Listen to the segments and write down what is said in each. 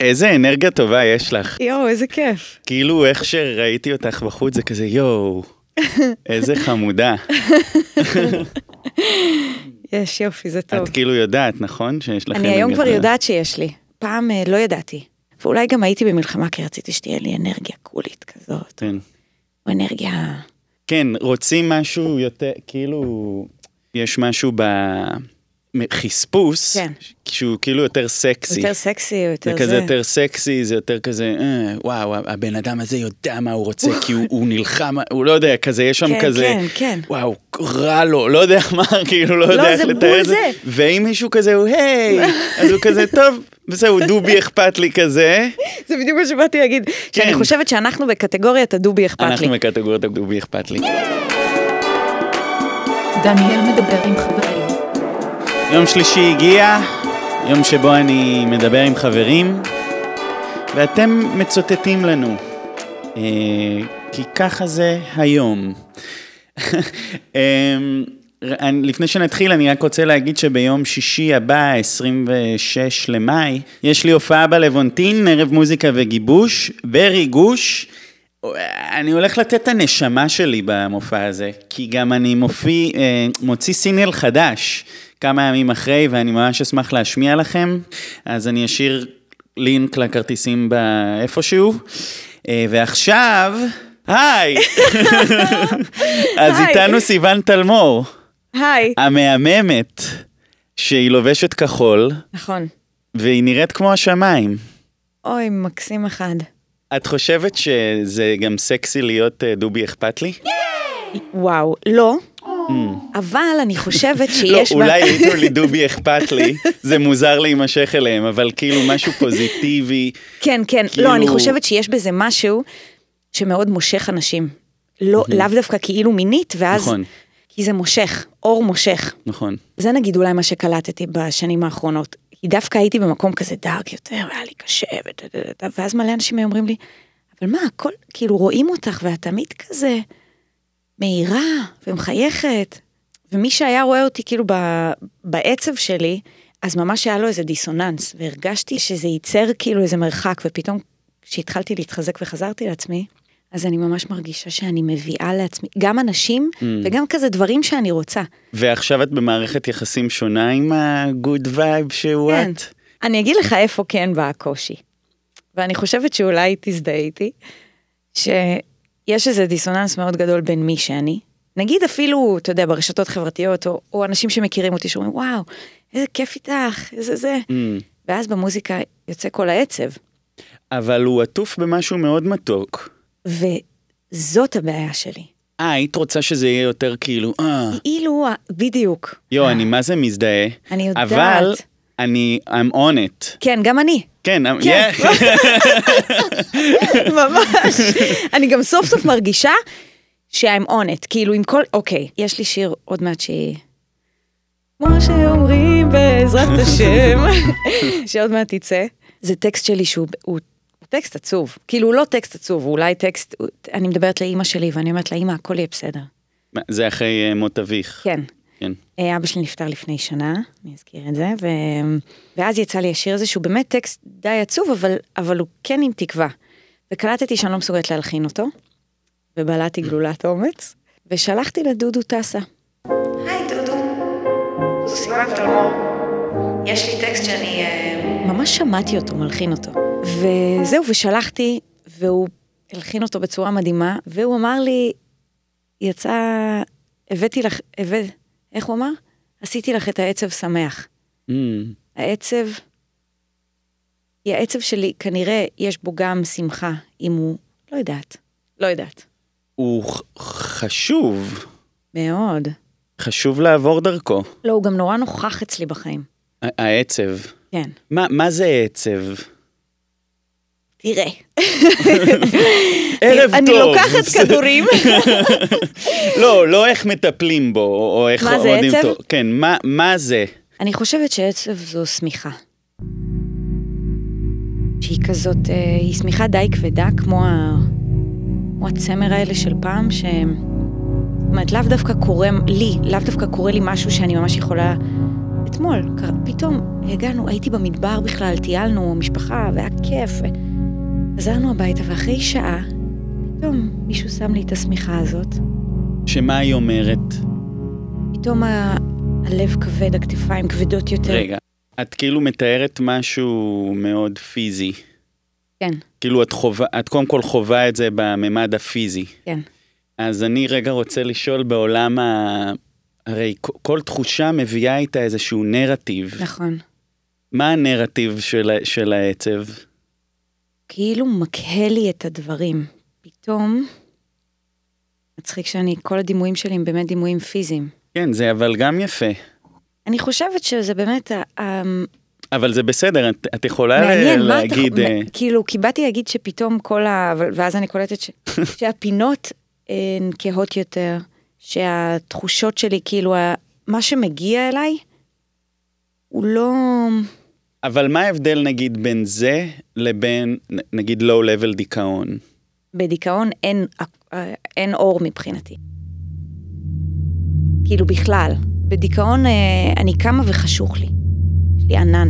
איזה אנרגיה טובה יש לך. יואו, איזה כיף. כאילו איך שראיתי אותך בחוץ זה כזה יואו, איזה חמודה. יש, יופי, זה טוב. את כאילו יודעת, נכון? שיש לך אני היום כבר יודעת שיש לי. פעם אה, לא ידעתי. ואולי גם הייתי במלחמה כי רציתי שתהיה לי אנרגיה קולית כזאת, כן. או אנרגיה... כן, רוצים משהו יותר, כאילו, יש משהו בחספוס, כן. שהוא כאילו יותר סקסי. יותר סקסי או יותר זה זה. כזה יותר סקסי, זה יותר כזה, אה, וואו, הבן אדם הזה יודע מה הוא רוצה, כי הוא- הוא נלחם, הוא לא יודע, כזה, יש שם כן, כזה, כן, כן. וואו, רע לו, לא יודע מה, כאילו, לא יודע איך זה בול לתאר את זה. זה. ואם מישהו כזה, הוא היי, אז הוא כזה, טוב, זהו, דובי אכפת לי כזה, זה בדיוק מה שבאתי להגיד. שאני חושבת שאנחנו בקטגוריית הדובי אכפת לי. כן. אנחנו בקטגוריית הדובי אכפת לי. דניאל מדבר עם חברים. יום שלישי הגיע, יום שבו אני מדבר עם חברים, ואתם מצוטטים לנו. אה, כי ככה זה היום. אה, אני- לפני שנתחיל, אני רק רוצה להגיד שביום שישי הבא, 26 למאי, יש לי הופעה בלוונטין, ערב מוזיקה וגיבוש, בריגוש. אני הולך לתת את הנשמה שלי במופע הזה, כי גם אני מופיע, אה, מוציא סינגל חדש כמה ימים אחרי, ואני ממש אשמח להשמיע לכם, אז אני אשאיר לינק לכרטיסים איפשהו. אה, ועכשיו, היי! אז היי. איתנו סיון תלמור, היי. המהממת, שהיא לובשת כחול, נכון. והיא נראית כמו השמיים. אוי, מקסים אחד. את חושבת שזה גם סקסי להיות אה, דובי אכפת לי? וואו, לא. אבל אני חושבת Mm. לא, שיש בה... אולי ייתנו לי דובי אכפת לי, זה מוזר להימשך אליהם, אבל כאילו משהו פוזיטיבי. כן, כן. כאילו- לא, אני חושבת שיש בזה משהו שמאוד מושך אנשים. לא, לאו דווקא כאילו מינית, ואז... נכון. כי זה מושך, אור מושך. נכון. זה נגיד אולי מה שקלטתי בשנים האחרונות. כי דווקא הייתי במקום כזה דארק יותר, והיה לי קשה, ודדדד, ואז מלא אנשים היו אומרים לי, אבל מה, הכל, כאילו רואים אותך, ואת תמיד כזה מהירה ומחייכת. ומי שהיה רואה אותי כאילו ב, בעצב שלי, אז ממש היה לו איזה דיסוננס, והרגשתי שזה ייצר כאילו איזה מרחק, ופתאום כשהתחלתי להתחזק וחזרתי לעצמי, אז אני ממש מרגישה שאני מביאה לעצמי, גם אנשים, mm. וגם כזה דברים שאני רוצה. ועכשיו את במערכת יחסים שונה עם הגוד וייב שהוא כן. את? אני אגיד לך איפה כן בא הקושי. ואני חושבת שאולי תזדהה איתי, שיש איזה דיסוננס מאוד גדול בין מי שאני, נגיד אפילו, אתה יודע, ברשתות חברתיות, או, או אנשים שמכירים אותי שאומרים, וואו, איזה כיף איתך, איזה זה. ואז במוזיקה יוצא כל העצב. אבל הוא עטוף במשהו מאוד מתוק. וזאת הבעיה שלי. אה, היית רוצה שזה יהיה יותר כאילו, אה, אילו, ה- בדיוק. יואו, אני מה זה מזדהה. אני יודעת. אבל אני, I'm on it. כן, גם אני. כן, I'm- כן. yeah. ממש. אני גם סוף סוף מרגישה שה-I'm on it, כאילו עם כל, אוקיי, יש לי שיר עוד מעט שהיא... כמו שאומרים בעזרת השם, שעוד מעט תצא. זה טקסט שלי שהוא הוא טקסט עצוב, כאילו הוא לא טקסט עצוב, הוא אולי טקסט, הוא- אני מדברת לאימא שלי ואני אומרת לאימא, הכל יהיה בסדר. מה, זה אחרי אה, מות אביך. כן. כן. אה, אבא שלי נפטר לפני שנה, אני אזכיר את זה, ו... ואז יצא לי השיר הזה שהוא באמת טקסט די עצוב, אבל, אבל הוא כן עם תקווה. וקלטתי שאני לא מסוגלת להלחין אותו, ובלעתי גלולת אומץ, ושלחתי לדודו טסה. היי דודו, זו סימן תלמור. יש לי טקסט שאני... אה, ממש שמעתי אותו, מלחין אותו. וזהו, ושלחתי, והוא הלחין אותו בצורה מדהימה, והוא אמר לי, יצא, הבאתי לך, הבא, איך הוא אמר? עשיתי לך את העצב שמח. Mm. העצב, כי העצב שלי, כנראה יש בו גם שמחה, אם הוא, לא יודעת, לא יודעת. הוא ח- חשוב, מאוד. חשוב לעבור דרכו, לא, הוא גם נורא נוכח אצלי בחיים. ה- העצב. כן. מה, מה זה עצב? תראה. ערב אני טוב. לוקחת כדורים. לא, לא איך מטפלים בו, או או איך מה זה, אוהדים עצב? אותו. כן, מה, מה זה? אני חושבת שעצב זו שמיכה. שהיא כזאת, אה, היא שמיכה די כבדה, כמו, ה... כמו הצמר האלה של פעם, ש... זאת אומרת, לאו דווקא קורה לי, לאו דווקא קורה לי משהו שאני ממש יכולה אתמול, קרה- פתאום הגענו, הייתי במדבר בכלל, טיילנו, משפחה, והיה כיף. חזרנו הביתה, ואחרי שעה, פתאום מישהו שם לי את השמיכה הזאת. שמה היא אומרת? פתאום ה... הלב כבד, הכתפיים כבדות יותר. רגע, את כאילו מתארת משהו מאוד פיזי. כן, כאילו את חווה, את קודם כל חווה את זה בממד הפיזי. כן. אז אני רגע רוצה לשאול בעולם ה... הרי כ- כל תחושה מביאה איתה איזשהו נרטיב. נכון. מה הנרטיב של, ה- של העצב? כאילו מקהה לי את הדברים. פתאום, מצחיק שאני, כל הדימויים שלי הם באמת דימויים פיזיים. כן, זה אבל גם יפה. אני חושבת שזה באמת, ה- ה- אבל זה בסדר, את, את יכולה מעניין, ל- מה אתה, אה, להגיד... אה, מ- כאילו, כי באתי להגיד שפתאום כל ה... אבל- ואז אני קולטת ש... שהפינות הן כהות יותר, שהתחושות שלי, כאילו, ה- מה שמגיע אליי, הוא לא... אבל מה ההבדל נגיד בין זה לבין נ- נגיד low-level דיכאון? בדיכאון אין, אין אור מבחינתי. כאילו בכלל, בדיכאון אה, אני קמה וחשוך לי. יש לי ענן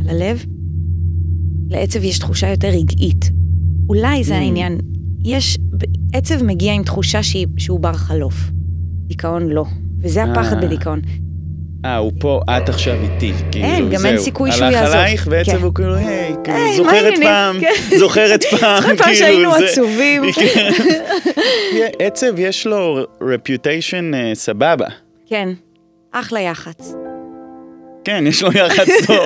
על הלב. לעצב יש תחושה יותר רגעית. אולי זה Mm. העניין. יש, ב- עצב מגיע עם תחושה שהיא, שהוא בר חלוף. דיכאון לא. וזה הפחד אה. בדיכאון. אה, הוא פה, את עכשיו איתי, כאילו, אין, גם אין זהו. סיכוי שהוא יעזוב. הלך עלייך בעצם כן. הוא כאילו, היי, כאילו, היי, מה זוכרת העניינים?" פעם, כן. זוכרת פעם, כאילו, כל פעם שהיינו זה- עצובים. כן. עצב יש לו רפיוטיישן סבבה. כן, אחלה יח"צ. כן, יש לו יחד טוב.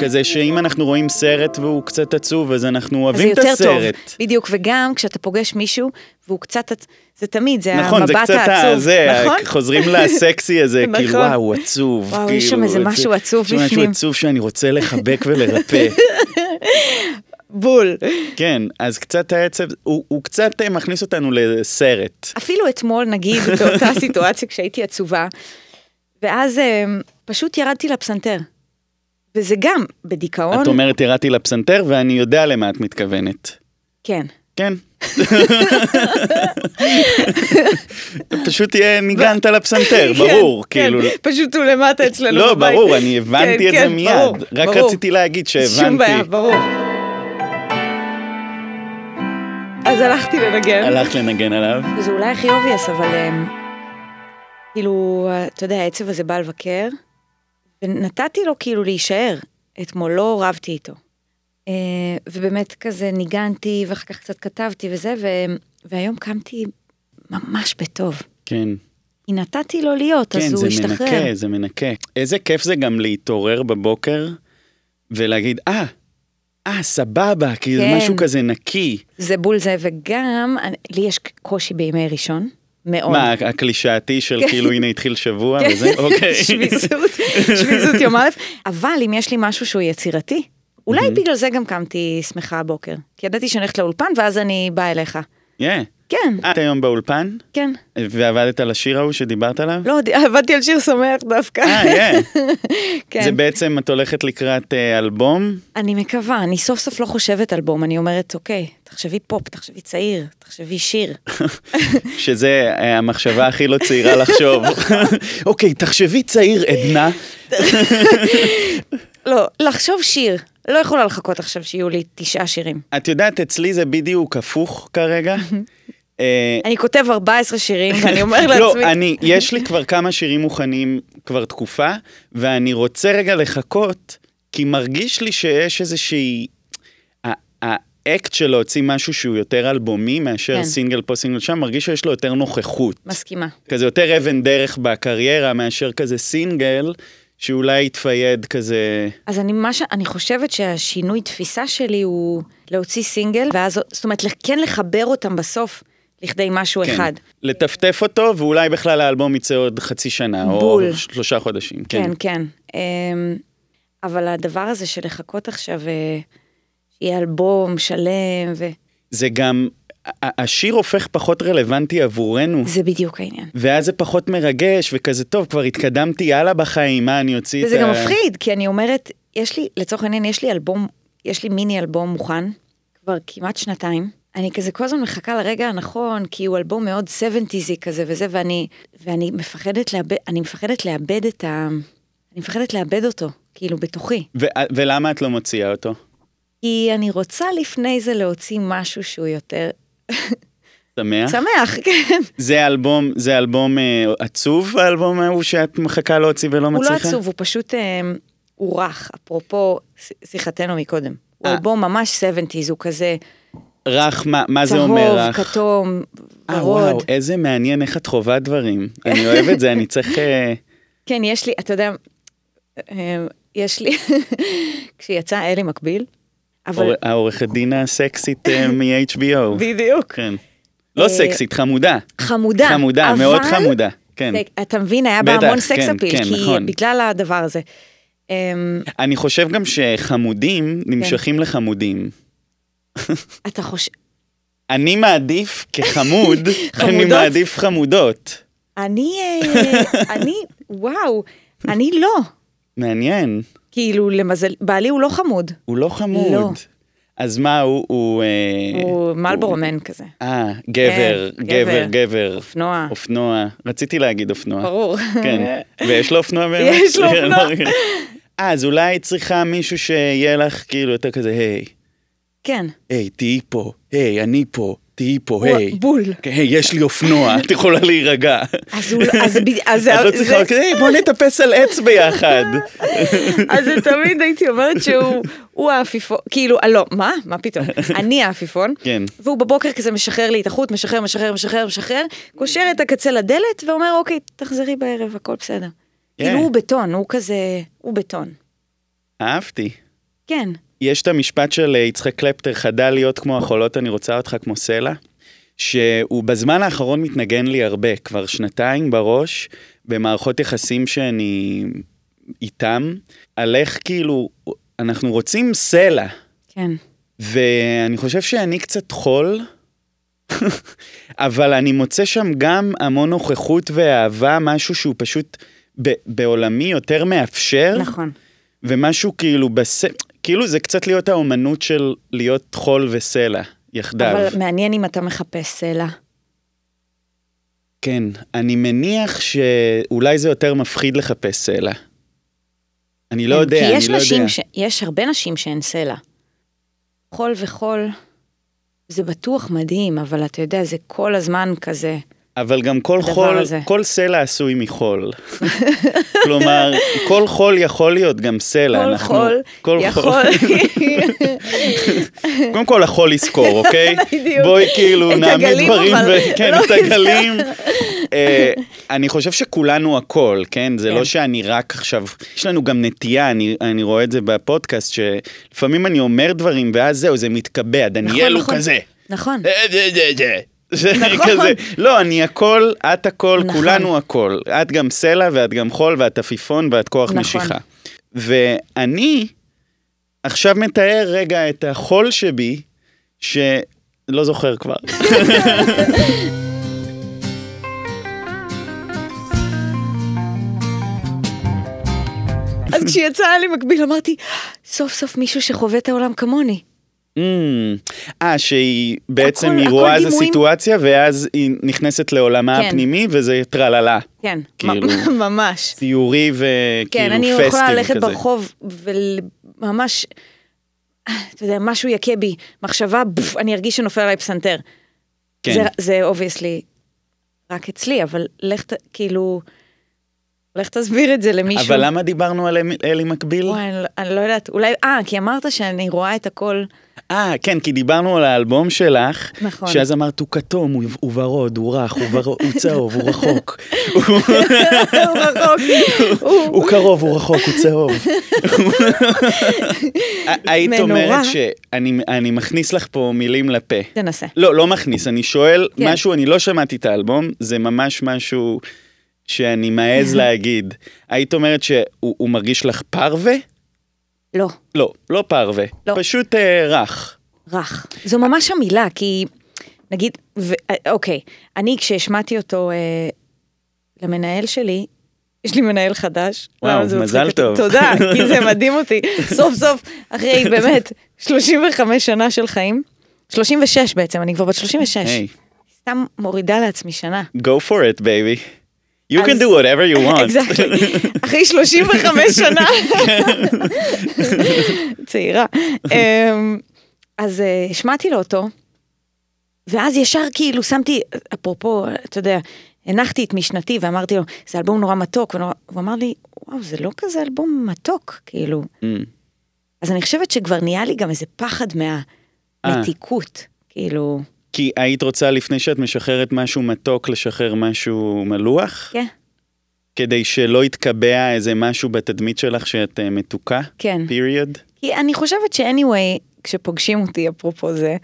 כזה שאם אנחנו רואים סרט והוא קצת עצוב, אז אנחנו אז זה אוהבים את יותר הסרט. טוב, בדיוק, וגם כשאתה פוגש מישהו והוא קצת, עצ- זה תמיד, זה נכון, זה המבט קצת ה- העצוב, זה, ה- נכון? חוזרים לסקסי הזה, כאילו, נכון. וואו, הוא עצוב. וואו, כאילו, יש שם איזה זה- משהו עצוב יש שם משהו בפנים. עצוב שאני רוצה לחבק ולרפא. בול. כן, אז קצת העצב, הוא הוא קצת אה, מכניס אותנו לסרט. אפילו אתמול, נגיד, באותה סיטואציה כשהייתי עצובה, ואז אמ, פשוט ירדתי לפסנתר. וזה גם בדיכאון, את אומרת, ירדתי לפסנתר ואני יודע למה את מתכוונת. כן. כן. פשוט תהיה ניגנת לפסנתר, ברור, כן, כאילו. כן, פשוט הוא למטה אצלנו לא, בבית. ברור, אני הבנתי כן, את זה כן, ברור, מיד. רק ברור. רציתי להגיד שום בעיה, שהבנתי. ברור. אז הלכתי לנגן. הלכת לנגן עליו. זה אולי הכי אובייס, אבל אמ, כאילו, אתה יודע, העצב הזה בא לבקר, ונתתי לו כאילו להישאר. אתמול לא רבתי איתו. אה, ובאמת כזה ניגנתי, ואחר כך קצת כתבתי וזה, ו- והיום קמתי ממש בטוב. כן, כי נתתי לו להיות, כן, אז הוא זה השתחרר. מנקה, זה מנקה. איזה כיף זה גם להתעורר בבוקר ולהגיד, אה, אה, סבבה, כאילו כן. משהו כזה נקי. זה בול זה, וגם, אני- לי יש קושי בימי ראשון, מאוד. מה, הקלישאתי של כן. כאילו, הנה התחיל שבוע וזה? אוקיי. שביזות, שביזות יום א', אבל אם יש לי משהו שהוא יצירתי, אולי בגלל זה גם קמתי שמחה הבוקר. כי ידעתי שאני הולכת לאולפן ואז אני באה אליך. כן. כן, את היום באולפן? כן. ועבדת על השיר ההוא שדיברת עליו? לא, ד- עבדתי על שיר שמח דווקא. אה, כן. זה כן. בעצם, את הולכת לקראת אה, אלבום? אני מקווה, אני סוף סוף לא חושבת אלבום, אני אומרת, אוקיי, תחשבי פופ, תחשבי צעיר, תחשבי שיר. שזה אה, המחשבה הכי לא צעירה לחשוב. אוקיי, תחשבי צעיר עדנה. לא, לחשוב שיר. לא יכולה לחכות עכשיו שיהיו לי תשעה שירים. את יודעת, אצלי זה בדיוק הפוך כרגע. אה, אני כותב 14 שירים ואני אומר לעצמי... לא, אני, יש לי כבר כמה שירים מוכנים כבר תקופה, ואני רוצה רגע לחכות, כי מרגיש לי שיש איזושהי... ה- האקט של להוציא משהו שהוא יותר אלבומי מאשר כן. סינגל פה סינגל שם, מרגיש שיש לו יותר נוכחות. מסכימה. כזה יותר אבן דרך בקריירה מאשר כזה סינגל, שאולי יתפייד כזה... אז אני, מה ש... אני חושבת שהשינוי תפיסה שלי הוא להוציא סינגל, ואז, זאת אומרת, לח- כן לחבר אותם בסוף לכדי משהו כן, אחד. לטפטף אותו, ואולי בכלל האלבום יצא עוד חצי שנה, או בול. שלושה חודשים. כן. כן, כן. אמ, אבל הדבר הזה של לחכות עכשיו, אה, שיהיה אלבום שלם, ו... זה גם, ה- השיר הופך פחות רלוונטי עבורנו. זה בדיוק העניין. ואז זה פחות מרגש, וכזה, טוב, כבר התקדמתי, יאללה בחיים, מה, אני אוציא את וזה גם ה- מפחיד, כי אני אומרת, יש לי, לצורך העניין, יש לי אלבום, יש לי מיני אלבום מוכן, כבר כמעט שנתיים. אני כזה כל הזמן מחכה לרגע הנכון, כי הוא אלבום מאוד 70'סי כזה וזה, ואני, ואני מפחדת לאבד, אני מפחדת לאבד את ה... אני מפחדת לאבד אותו, כאילו בתוכי. ו- ולמה את לא מוציאה אותו? כי אני רוצה לפני זה להוציא משהו שהוא יותר שמח? שמח, כן. זה אלבום, זה אלבום אה, עצוב, האלבום ההוא שאת מחכה להוציא ולא הוא לא מצליחה? עצוב, הוא פשוט אה, הוא רך, אפרופו ש- שיחתנו מקודם. הוא אה. אלבום ממש 70's, הוא כזה רך, מה, מה זה צהוב, אומר רך? כתום, אה, וואו, ורוד. איזה מעניין איך את חווה דברים. אני אוהב את זה, אני צריך... אה, כן, יש לי, אתה יודע, אה, יש לי, כשיצא אלי מקביל, אבל אור- העורכת דין הסקסית אה, מ-HBO. בדיוק, כן. לא אה, סקסית, חמודה. חמודה, חמודה, אבל- מאוד חמודה. כן. זה- אתה מבין, היה בה בטח, המון סקס כן, אפיל, כן, כי נכון. בגלל הדבר הזה. אמ, אני חושב גם שחמודים כן. נמשכים לחמודים. אתה חושב, אני מעדיף כחמוד, אני חמודות? מעדיף חמודות. אני, אה, אני, וואו, אני לא. מעניין, כאילו, למזל, בעלי הוא לא חמוד, הוא לא חמוד. לא. אז מה, הוא... הוא אה, הוא מלבורומן כזה, אה, גבר, כן, גבר, גבר. גבר. אופנוע, אופנוע. רציתי להגיד אופנוע. ברור. כן. ויש לו אופנוע באמת? כן, יש לו אופנוע. אה, אז אולי היית צריכה מישהו שיהיה לך כאילו יותר כזה, היי, כן, היי, תהיי פה, היי, אני פה, תהיי פה, הוא היי. בול. היי, יש לי אופנוע, את יכולה להירגע. אז הוא, אז ב- אז את לא זה- צריכה, היי, בוא נטפס על עץ ביחד. אז זה תמיד הייתי אומרת שהוא הוא העפיפון, כאילו, אה, לא, מה? מה פתאום? אני העפיפון. כן. והוא בבוקר כזה משחרר לי את החוט, משחרר, משחרר, משחרר, משחרר, קושר את הקצה לדלת ואומר, אוקיי, תחזרי בערב, הכל בסדר. כן. כאילו הוא בטון, הוא כזה, הוא בטון. אהבתי. כן, יש את המשפט של אה, יצחק קלפטר, חדל להיות כמו החולות, אני רוצה אותך כמו סלע, שהוא בזמן האחרון מתנגן לי הרבה, כבר שנתיים בראש, במערכות יחסים שאני איתם, על איך כאילו, אנחנו רוצים סלע, כן. ואני חושב שאני קצת חול, אבל אני מוצא שם גם המון נוכחות ואהבה, משהו שהוא פשוט ב- בעולמי יותר מאפשר. נכון. ומשהו כאילו בס... כאילו זה קצת להיות האומנות של להיות חול וסלע יחדיו. אבל אבל... מעניין אם אתה מחפש סלע. כן, אני מניח שאולי זה יותר מפחיד לחפש סלע. אני לא כן, יודע, כי אני יש לא נשים יודע. ש... יש הרבה נשים שהן סלע. חול וחול, זה בטוח מדהים, אבל אתה יודע, זה כל הזמן כזה. אבל גם כל הדבר חול, הזה. הזה. כל סלע עשוי מחול. כלומר, כל חול יכול להיות גם סלע. כל לא, אנחנו- חול כל יכול... נכון, קודם כל החול יזכור, אוקיי? בדיוק. בואי כאילו את נעמיד הגלים, דברים, אבל ו- כן, לא את הגלים. אה, אני חושב שכולנו הכל, כן? זה כן. לא שאני רק עכשיו, יש לנו גם נטייה, אני- אני רואה את זה בפודקאסט, שלפעמים אני אומר דברים ואז זהו, זה מתקבע, דניאל הוא נכון. כזה. נכון, אה, זה, זה, זה. זה נכון. כזה, לא, אני הכל, את הכל, נכון. כולנו הכל. את גם סלע ואת גם חול ואת עפיפון ואת כוח נכון. משיכה. ואני עכשיו מתאר רגע את החול שבי, שלא זוכר כבר. אז כשיצא לי מקביל אמרתי, סוף סוף מישהו שחווה את העולם כמוני. אמ, אה, שהיא בעצם, הכל- היא הכל רואה איזה דימויים. סיטואציה, ואז היא נכנסת לעולמה כן. הפנימי, וזה טרללה. כן, כאילו. מ- ממש. ציורי וכאילו כן, פסטים אני כזה. יכולה ללכת ברחוב וממש, אתה יודע, משהו יכה בי, מחשבה, בוף, אני ארגיש שנופל עליי פסנתר. כן. זה- זה אובייסלי רק אצלי, אבל לך ת- כאילו, לך תסביר את זה למישהו. אבל למה דיברנו על אמי- אלי מקביל? וואי, אני לא- אני לא יודעת, אולי, אה, כי אמרת שאני רואה את הכל. אה, כן, כי דיברנו על האלבום שלך. נכון. שאז אמרת, הוא כתום, הוא- הוא ורוד, הוא רך, הוא ור- הוא צהוב, הוא רחוק. הוא רחוק. הוא- הוא קרוב, הוא רחוק, הוא צהוב. היית מנורה. אומרת שאני אני מכניס לך פה מילים לפה. תנסה. לא, לא מכניס, אני שואל כן. משהו, אני לא שמעתי את האלבום, זה ממש משהו שאני מעז להגיד. היית אומרת שהוא הוא מרגיש לך פרווה? לא, לא, לא פרווה. לא. פשוט אה, רך. רך. זו ממש המילה, כי נגיד, ו... אה, אוקיי, אני כשהשמעתי אותו אה, למנהל שלי, יש לי מנהל חדש. וואו, למה זה מצחיק מזל אותי? טוב. תודה, כי זה מדהים אותי. סוף סוף, אחרי באמת 35 שנה של חיים, 36 בעצם, אני כבר בת 36. היי, סתם מורידה לעצמי שנה. go for it, baby. You can אז- do whatever you want. Exactly. אחרי 35 שנה. צעירה. אמ, אז אה, השמעתי לו אותו, ואז ישר כאילו שמתי, אפרופו, אתה יודע, הנחתי את משנתי ואמרתי לו, זה אלבום נורא מתוק, ונורא... הוא אמר לי, וואו, זה לא כזה אלבום מתוק, כאילו. Mm. אז אני חושבת שכבר נהיה לי גם איזה פחד מהמתיקות, כאילו, כי היית רוצה לפני שאת משחררת משהו מתוק, לשחרר משהו מלוח? כן, כדי שלא יתקבע איזה משהו בתדמית שלך שאת אה, מתוקה? כן. period? כי אני חושבת ש-anyway, כשפוגשים אותי, אפרופו זה,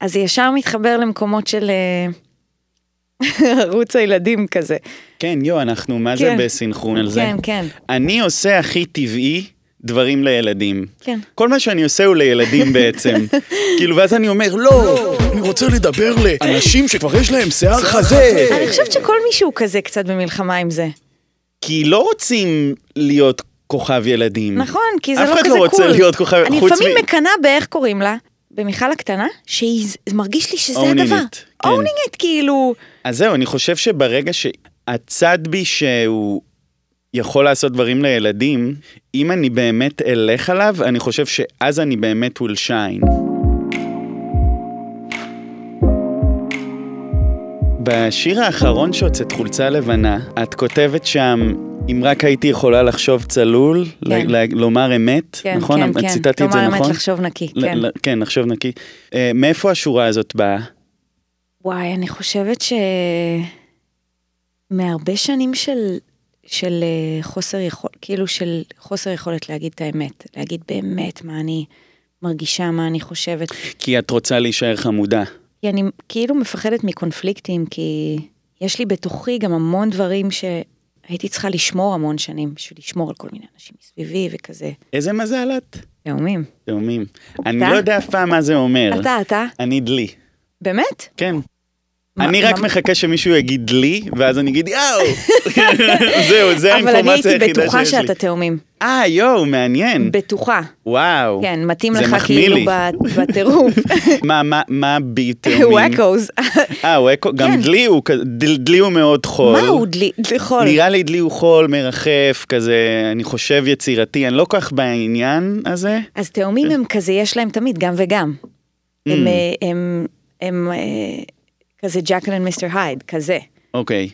אז זה ישר מתחבר למקומות של אה, ערוץ הילדים כזה. כן, יו, אנחנו, מה זה כן. בסינכרון על זה? כן, כן, אני עושה הכי טבעי דברים לילדים. כן. כל מה שאני עושה הוא לילדים בעצם. כאילו, ואז אני אומר, לא, אני רוצה לדבר לאנשים שכבר יש להם שיער חזה. אני חושבת שכל מישהו כזה קצת במלחמה עם זה. כי לא רוצים להיות כוכב ילדים. נכון, כי זה אף לא אחד לא כזה קול. רוצה להיות כוכב, אני חוץ לפעמים מ- מקנאה באיך קוראים לה, במיכל הקטנה, שהיא, זה מרגיש לי שזה Owning הדבר. it, כן. Owning it, כאילו, אז זהו, אני חושב שברגע שהצד בי שהוא יכול לעשות דברים לילדים, אם אני באמת אלך עליו, אני חושב שאז אני באמת will shine. בשיר האחרון שהוצאת חולצה לבנה, את כותבת שם, אם רק הייתי יכולה לחשוב צלול, כן. ל- ל- לומר אמת, כן, נכון? כן, את כן. ציטטתי את זה כלומר, נכון? אמת לחשוב נקי, ל- כן. ל- כן, לחשוב נקי. אה, מאיפה השורה הזאת באה? וואי, אני חושבת ש... מהרבה שנים של, של אה, חוסר יכול, כאילו של חוסר יכולת להגיד את האמת, להגיד באמת מה אני מרגישה, מה אני חושבת. כי את רוצה להישאר חמודה. כי אני כאילו מפחדת מקונפליקטים, כי יש לי בתוכי גם המון דברים שהייתי צריכה לשמור המון שנים, בשביל לשמור על כל מיני אנשים מסביבי וכזה. איזה מזל את? תאומים. תאומים. אני אתה? לא יודע אף פעם מה זה אומר. אתה, אתה? אני דלי. באמת? כן. מה- אני רק מה- מחכה שמישהו יגיד לי, ואז אני אגיד יואו. זהו, זה אבל אני האינפורמציה היחידה שיש לי. הייתי בטוחה שאתה תאומים. אה, יואו, מעניין. בטוחה. וואו. כן, מתאים זה לך מחמיא כאילו לי. ב- בטירוף. מה, מה, מה בי תאומים? וואקוז. אה, וואקו. גם כן. דלי הוא כזה, דל- דלי הוא מאוד חול. מה הוא דלי? דלי חול. נראה לי דלי הוא חול, מרחף, כזה, אני חושב יצירתי, אני לא כל כך בעניין הזה. אז תאומים הם כזה, יש להם תמיד גם וגם. Mm. הם, אה, הם, הם אה, כזה ג'קלין מיסטר הייד, כזה. אוקיי.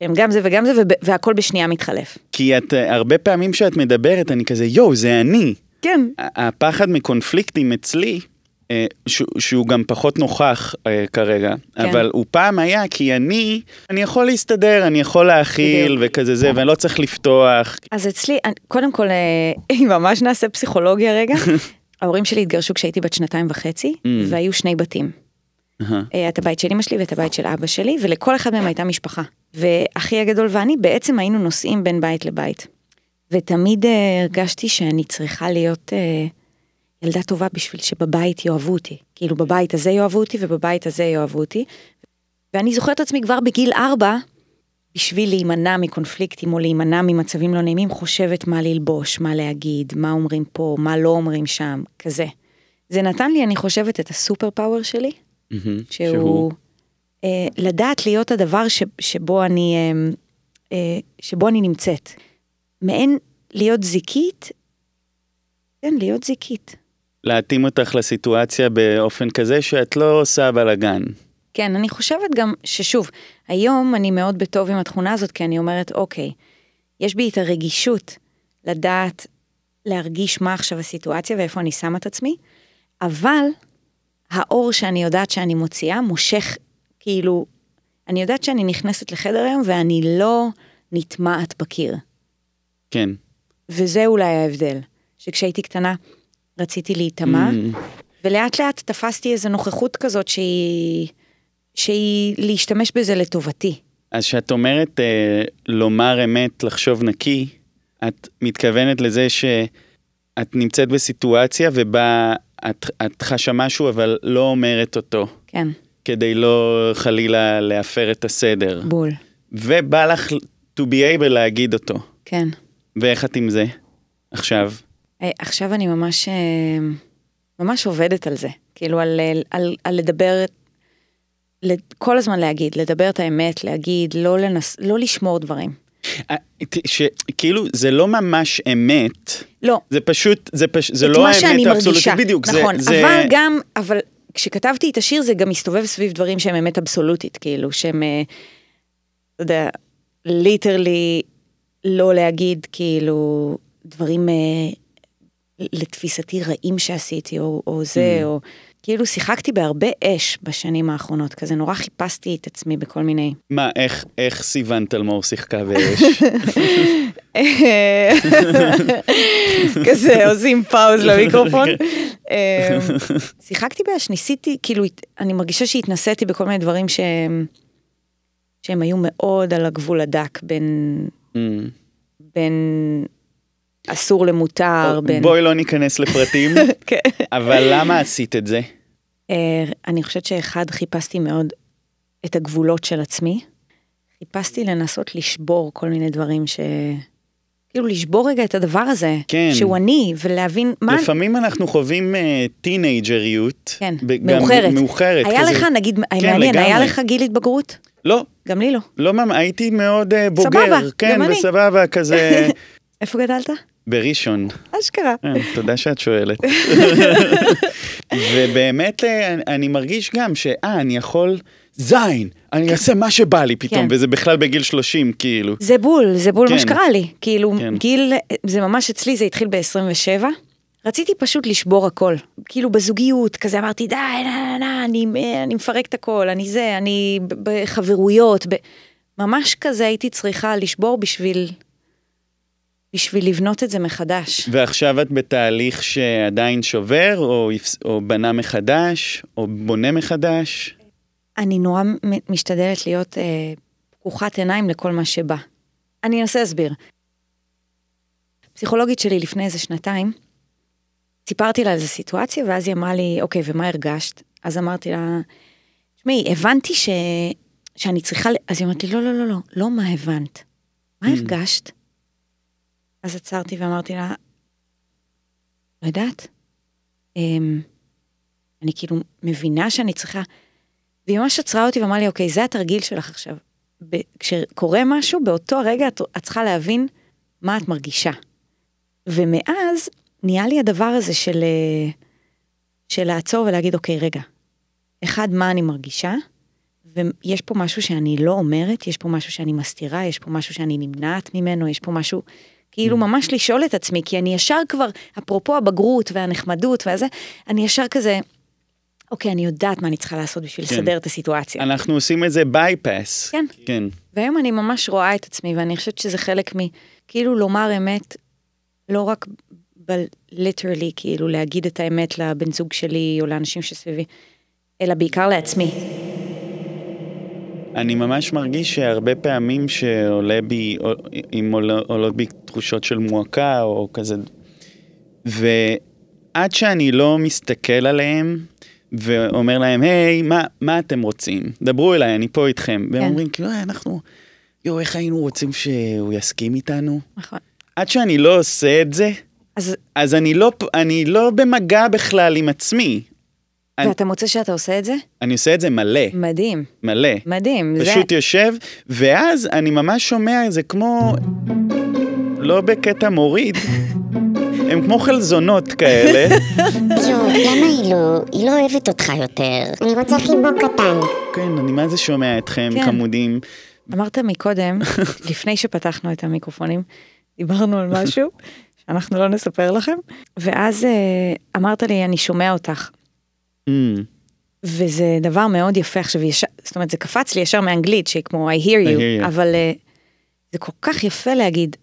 הם גם זה וגם זה, וב- והכל בשנייה מתחלף. כי את, אה, הרבה פעמים כשאת מדברת, אני כזה, יואו, זה אני. כן. הפחד מקונפליקטים אצלי, אה, ש- שהוא גם פחות נוכח אה, כרגע, כן. אבל הוא פעם היה כי אני, אני יכול להסתדר, אני יכול להכיל וכזה זה, ואני לא צריך לפתוח. אז אצלי, אני- קודם כל, אה, אם ממש נעשה פסיכולוגיה רגע, ההורים שלי התגרשו כשהייתי בת שנתיים וחצי, Mm. והיו שני בתים. אהה. אה, את הבית של אמא שלי ואת הבית של אבא שלי, ולכל אחד מהם הייתה משפחה. ואחי הגדול ואני בעצם היינו נוסעים בין בית לבית. ותמיד אה, הרגשתי שאני צריכה להיות אה, ילדה טובה בשביל שבבית יאהבו אותי. כאילו בבית הזה יאהבו אותי ובבית הזה יאהבו אותי. ואני זוכרת את עצמי כבר בגיל ארבע, בשביל להימנע מקונפליקטים או להימנע ממצבים לא נעימים, חושבת מה ללבוש, מה להגיד, מה אומרים פה, מה לא אומרים שם, כזה. זה נתן לי, אני חושבת, את הסופר פאוור שלי. מהמם. שהוא אה, לדעת להיות הדבר ש, שבו אני אה, אה, שבו אני נמצאת. מעין להיות זיקית, כן, להיות זיקית. להתאים אותך לסיטואציה באופן כזה שאת לא עושה בלאגן. כן, אני חושבת גם ששוב, היום אני מאוד בטוב עם התכונה הזאת, כי אני אומרת, אוקיי, יש בי את הרגישות לדעת להרגיש מה עכשיו הסיטואציה ואיפה אני שמה את עצמי, אבל האור שאני יודעת שאני מוציאה מושך, כאילו, אני יודעת שאני נכנסת לחדר היום ואני לא נטמעת בקיר. כן. וזה אולי ההבדל, שכשהייתי קטנה רציתי להיטמע, ולאט לאט תפסתי איזו נוכחות כזאת שהיא, שהיא להשתמש בזה לטובתי. אז כשאת אומרת אה, לומר אמת, לחשוב נקי, את מתכוונת לזה שאת נמצאת בסיטואציה ובה את, את חשה משהו אבל לא אומרת אותו, כן, כדי לא חלילה להפר את הסדר. בול. ובא לך to be able להגיד אותו. כן. ואיך את עם זה עכשיו? אה, עכשיו אני ממש, אה, ממש עובדת על זה. כאילו, על, על, על לדבר לד- כל הזמן להגיד, לדבר את האמת, להגיד, לא, לנס, לא לשמור דברים. אה, ת- ש- כאילו, זה לא ממש אמת, לא, זה פשוט, זה פש- זה את לא מה שאני האמת מרגישה. האבסולוטית, בדיוק, זה- נכון, זה- אבל גם, אבל כשכתבתי את השיר זה גם הסתובב סביב דברים שהם אמת אבסולוטית, כאילו, שהם, אה, אתה יודע, ליטרלי לא להגיד, כאילו, דברים אה, לתפיסתי רעים שעשיתי, או, או Mm. זה, או... כאילו שיחקתי בהרבה אש בשנים האחרונות, כזה נורא חיפשתי את עצמי בכל מיני... מה, איך- איך סיוון תלמור שיחקה באש? אה, כזה עושים פאוז למיקרופון. אמ, שיחקתי באש, ניסיתי, כאילו, הת- אני מרגישה שהתנסיתי בכל מיני דברים שהם, שהם היו מאוד על הגבול הדק בין, אמ, בין אסור למותר, בין... בואי לא ניכנס לפרטים, כן. אבל למה עשית את זה? אה, אני חושבת שאחד, חיפשתי מאוד את הגבולות של עצמי. חיפשתי לנסות לשבור כל מיני דברים ש... כאילו לשבור רגע את הדבר הזה, כן. שהוא אני, ולהבין מה... לפעמים אנחנו חווים אה, טינג'ריות. כן, ב- גם מאוחרת. מאוחרת. היה כזה. לך, נגיד, כן, מעניין, היה לגמרי. לך גיל התבגרות? לא, גם לי לא. לא, ממ- הייתי מאוד אה, בוגר. סבבה, כן, גם אני. בסבבה, כזה איפה גדלת? בראשון. אשכרה. אה, תודה שאת שואלת. ובאמת אה, אני- אני מרגיש גם שאה, אני יכול, זין, אני אעשה מה שבא לי פתאום, כן. וזה בכלל בגיל 30, כאילו. זה בול, זה בול מה כן. שקרה לי. כאילו, כן. גיל, זה ממש אצלי, זה התחיל ב-27. רציתי פשוט לשבור הכל. כאילו, בזוגיות, כזה אמרתי, די, נה, נה, נה, אני, אני מפרקת הכל, אני זה, אני ב- בחברויות. ב... ממש כזה הייתי צריכה לשבור בשביל... בשביל לבנות את זה מחדש. ועכשיו את בתהליך שעדיין שובר, או, הפס- או בנה מחדש, או בונה מחדש. אני נורא מ- משתדלת להיות אה, פקוחת עיניים לכל מה שבא. אני אנסה להסביר. פסיכולוגית שלי לפני איזה שנתיים, סיפרתי לה על איזה סיטואציה, ואז היא אמרה לי, אוקיי, ומה הרגשת? אז אמרתי לה, תשמעי, הבנתי ש... שאני צריכה... ל-" אז היא אמרת לי, לא, לא, לא, לא, לא מה הבנת. מה הרגשת? אז עצרתי ואמרתי לה, לא יודעת. אמ, אני כאילו מבינה שאני צריכה... והיא ממש עצרה אותי ואמרה לי, אוקיי, זה התרגיל שלך עכשיו. ב- כשקורה משהו, באותו רגע את, את צריכה להבין מה את מרגישה. ומאז נהיה לי הדבר הזה של, אה, של לעצור ולהגיד, אוקיי, רגע, אחד, מה אני מרגישה, ויש פה משהו שאני לא אומרת, יש פה משהו שאני מסתירה, יש פה משהו שאני נמנעת ממנו, יש פה משהו, כאילו ממש לשאול את עצמי, כי אני ישר כבר, אפרופו הבגרות והנחמדות והזה, אני ישר כזה, אוקיי, אני יודעת מה אני צריכה לעשות בשביל כן. לסדר את הסיטואציה. אנחנו עושים את זה בייפס. כן. כן. והיום אני ממש רואה את עצמי, ואני חושבת שזה חלק מ... כאילו לומר אמת, לא רק ב-literally, כאילו להגיד את האמת לבן זוג שלי או לאנשים שסביבי, אלא בעיקר לעצמי. אני ממש מרגיש שהרבה פעמים שעולה בי, או- אם עולה- עולות בי תחושות של מועקה או כזה, ועד שאני לא מסתכל עליהם ואומר להם, היי, מה, מה אתם רוצים? דברו אליי, אני פה איתכם. והם כן. אומרים, כאילו, "אה, אנחנו, יואו, איך היינו רוצים שהוא יסכים איתנו? נכון. עד שאני לא עושה את זה, אז אז אני לא, אני לא במגע בכלל עם עצמי. אני- ואתה מוצא שאתה עושה את זה? אני עושה את זה מלא, מדהים, מלא. מדהים. זה- פשוט יושב, ואז אני ממש שומע, זה כמו... לא בקטע מוריד, הם כמו חלזונות כאלה, יואו, למה היא לא, היא לא אוהבת אותך יותר? אני רוצה חיבוק קטן. כן, אני מה זה שומע אתכם, כן. חמודים. אמרת מקודם, לפני שפתחנו את המיקרופונים, דיברנו על משהו שאנחנו לא נספר לכם, ואז אה, אמרת לי, אני שומע אותך. Mm, וזה דבר מאוד יפה עכשיו, ישר, זאת אומרת זה קפץ לי ישר מאנגלית, שהיא כמו I hear I you, hear you. אבל אה, זה כל כך יפה להגיד,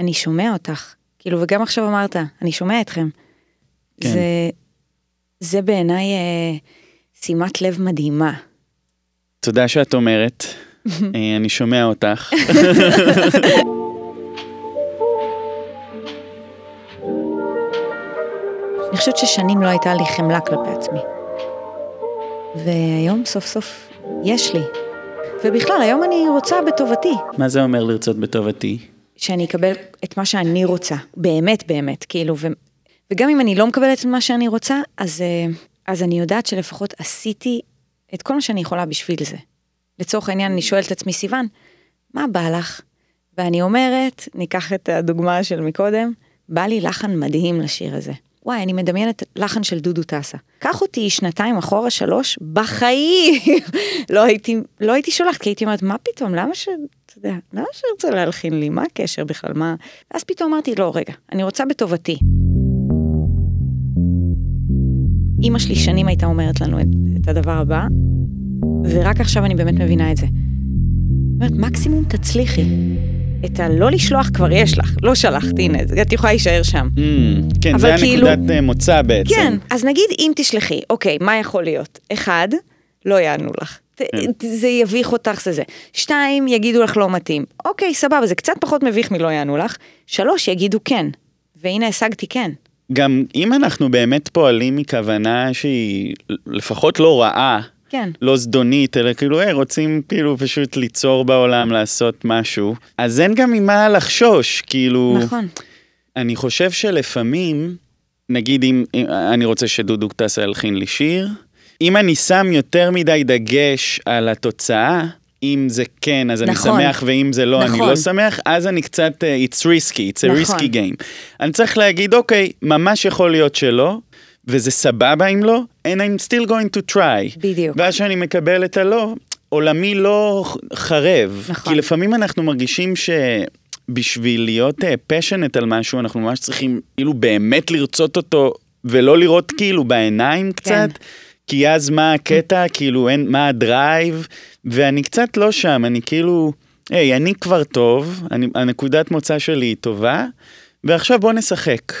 אני שומע אותך, כאילו, וגם עכשיו אמרת, אני שומע אתכם. כן. זה, זה בעיניי אה, שימת לב מדהימה. תודה שאת אומרת, אה, אני שומע אותך. אני חושבת ששנים לא הייתה לי חמלה כלפי עצמי. והיום סוף סוף יש לי. ובכלל, היום אני רוצה בטובתי. מה זה אומר לרצות בטובתי? שאני אקבל את מה שאני רוצה, באמת באמת, כאילו, ו... וגם אם אני לא מקבלת את מה שאני רוצה, אז, אה, אז אני יודעת שלפחות עשיתי את כל מה שאני יכולה בשביל זה. לצורך העניין, אני שואלת את עצמי, סיוון, מה בא לך? ואני אומרת, ניקח את הדוגמה של מקודם, בא לי לחן מדהים לשיר הזה. וואי, אני מדמיינת לחן של דודו טסה. קח אותי שנתיים אחורה, שלוש, בחיים! לא, הייתי, לא הייתי שולחת, כי הייתי אומרת, מה פתאום, למה ש... אתה יודע, למה שירצה להלחין לי? מה הקשר בכלל? מה... ואז פתאום אמרתי, לא, רגע, אני רוצה בטובתי. אימא שלי שנים הייתה אומרת לנו את, את הדבר הבא, ורק עכשיו אני באמת מבינה את זה. אומרת, מקסימום תצליחי. את הלא לשלוח כבר יש לך, לא שלחת, הנה, את יכולה להישאר שם. Mm, כן, אבל זה היה כאילו- נקודת אה, מוצא בעצם. כן, אז נגיד אם תשלחי, אוקיי, מה יכול להיות? אחד, לא יענו לך. ת- זה יביך אותך, זה זה. שתיים, יגידו לך לא מתאים. אוקיי, סבבה, זה קצת פחות מביך מלא יענו לך. שלוש, יגידו כן. והנה השגתי כן. גם אם אנחנו באמת פועלים מכוונה שהיא לפחות לא רעה, כן. לא זדונית, אלא כאילו, אה, רוצים כאילו פשוט ליצור בעולם, לעשות משהו, אז אין גם ממה לחשוש, כאילו... נכון. אני חושב שלפעמים, נגיד אם, אם אני רוצה שדודו טסה ילחין לי שיר, אם אני שם יותר מדי דגש על התוצאה, אם זה כן אז נכון. אני שמח, ואם זה לא אני נכון. לא שמח, אז אני קצת, אה, it's risky, it's a נכון. risky game. אני צריך להגיד, אוקיי, ממש יכול להיות שלא, וזה סבבה אם לא, and I'm still going to try. בדיוק. ואז שאני מקבל את הלא, עולמי לא ח- חרב. נכון. כי לפעמים אנחנו מרגישים שבשביל להיות פשנט על משהו, אנחנו ממש צריכים כאילו באמת לרצות אותו, ולא לראות כאילו בעיניים קצת. כן. כי אז מה הקטע, כאילו אין, מה הדרייב, ואני קצת לא שם, אני כאילו, היי, אני כבר טוב, אני, הנקודת מוצא שלי היא טובה, ועכשיו בוא נשחק.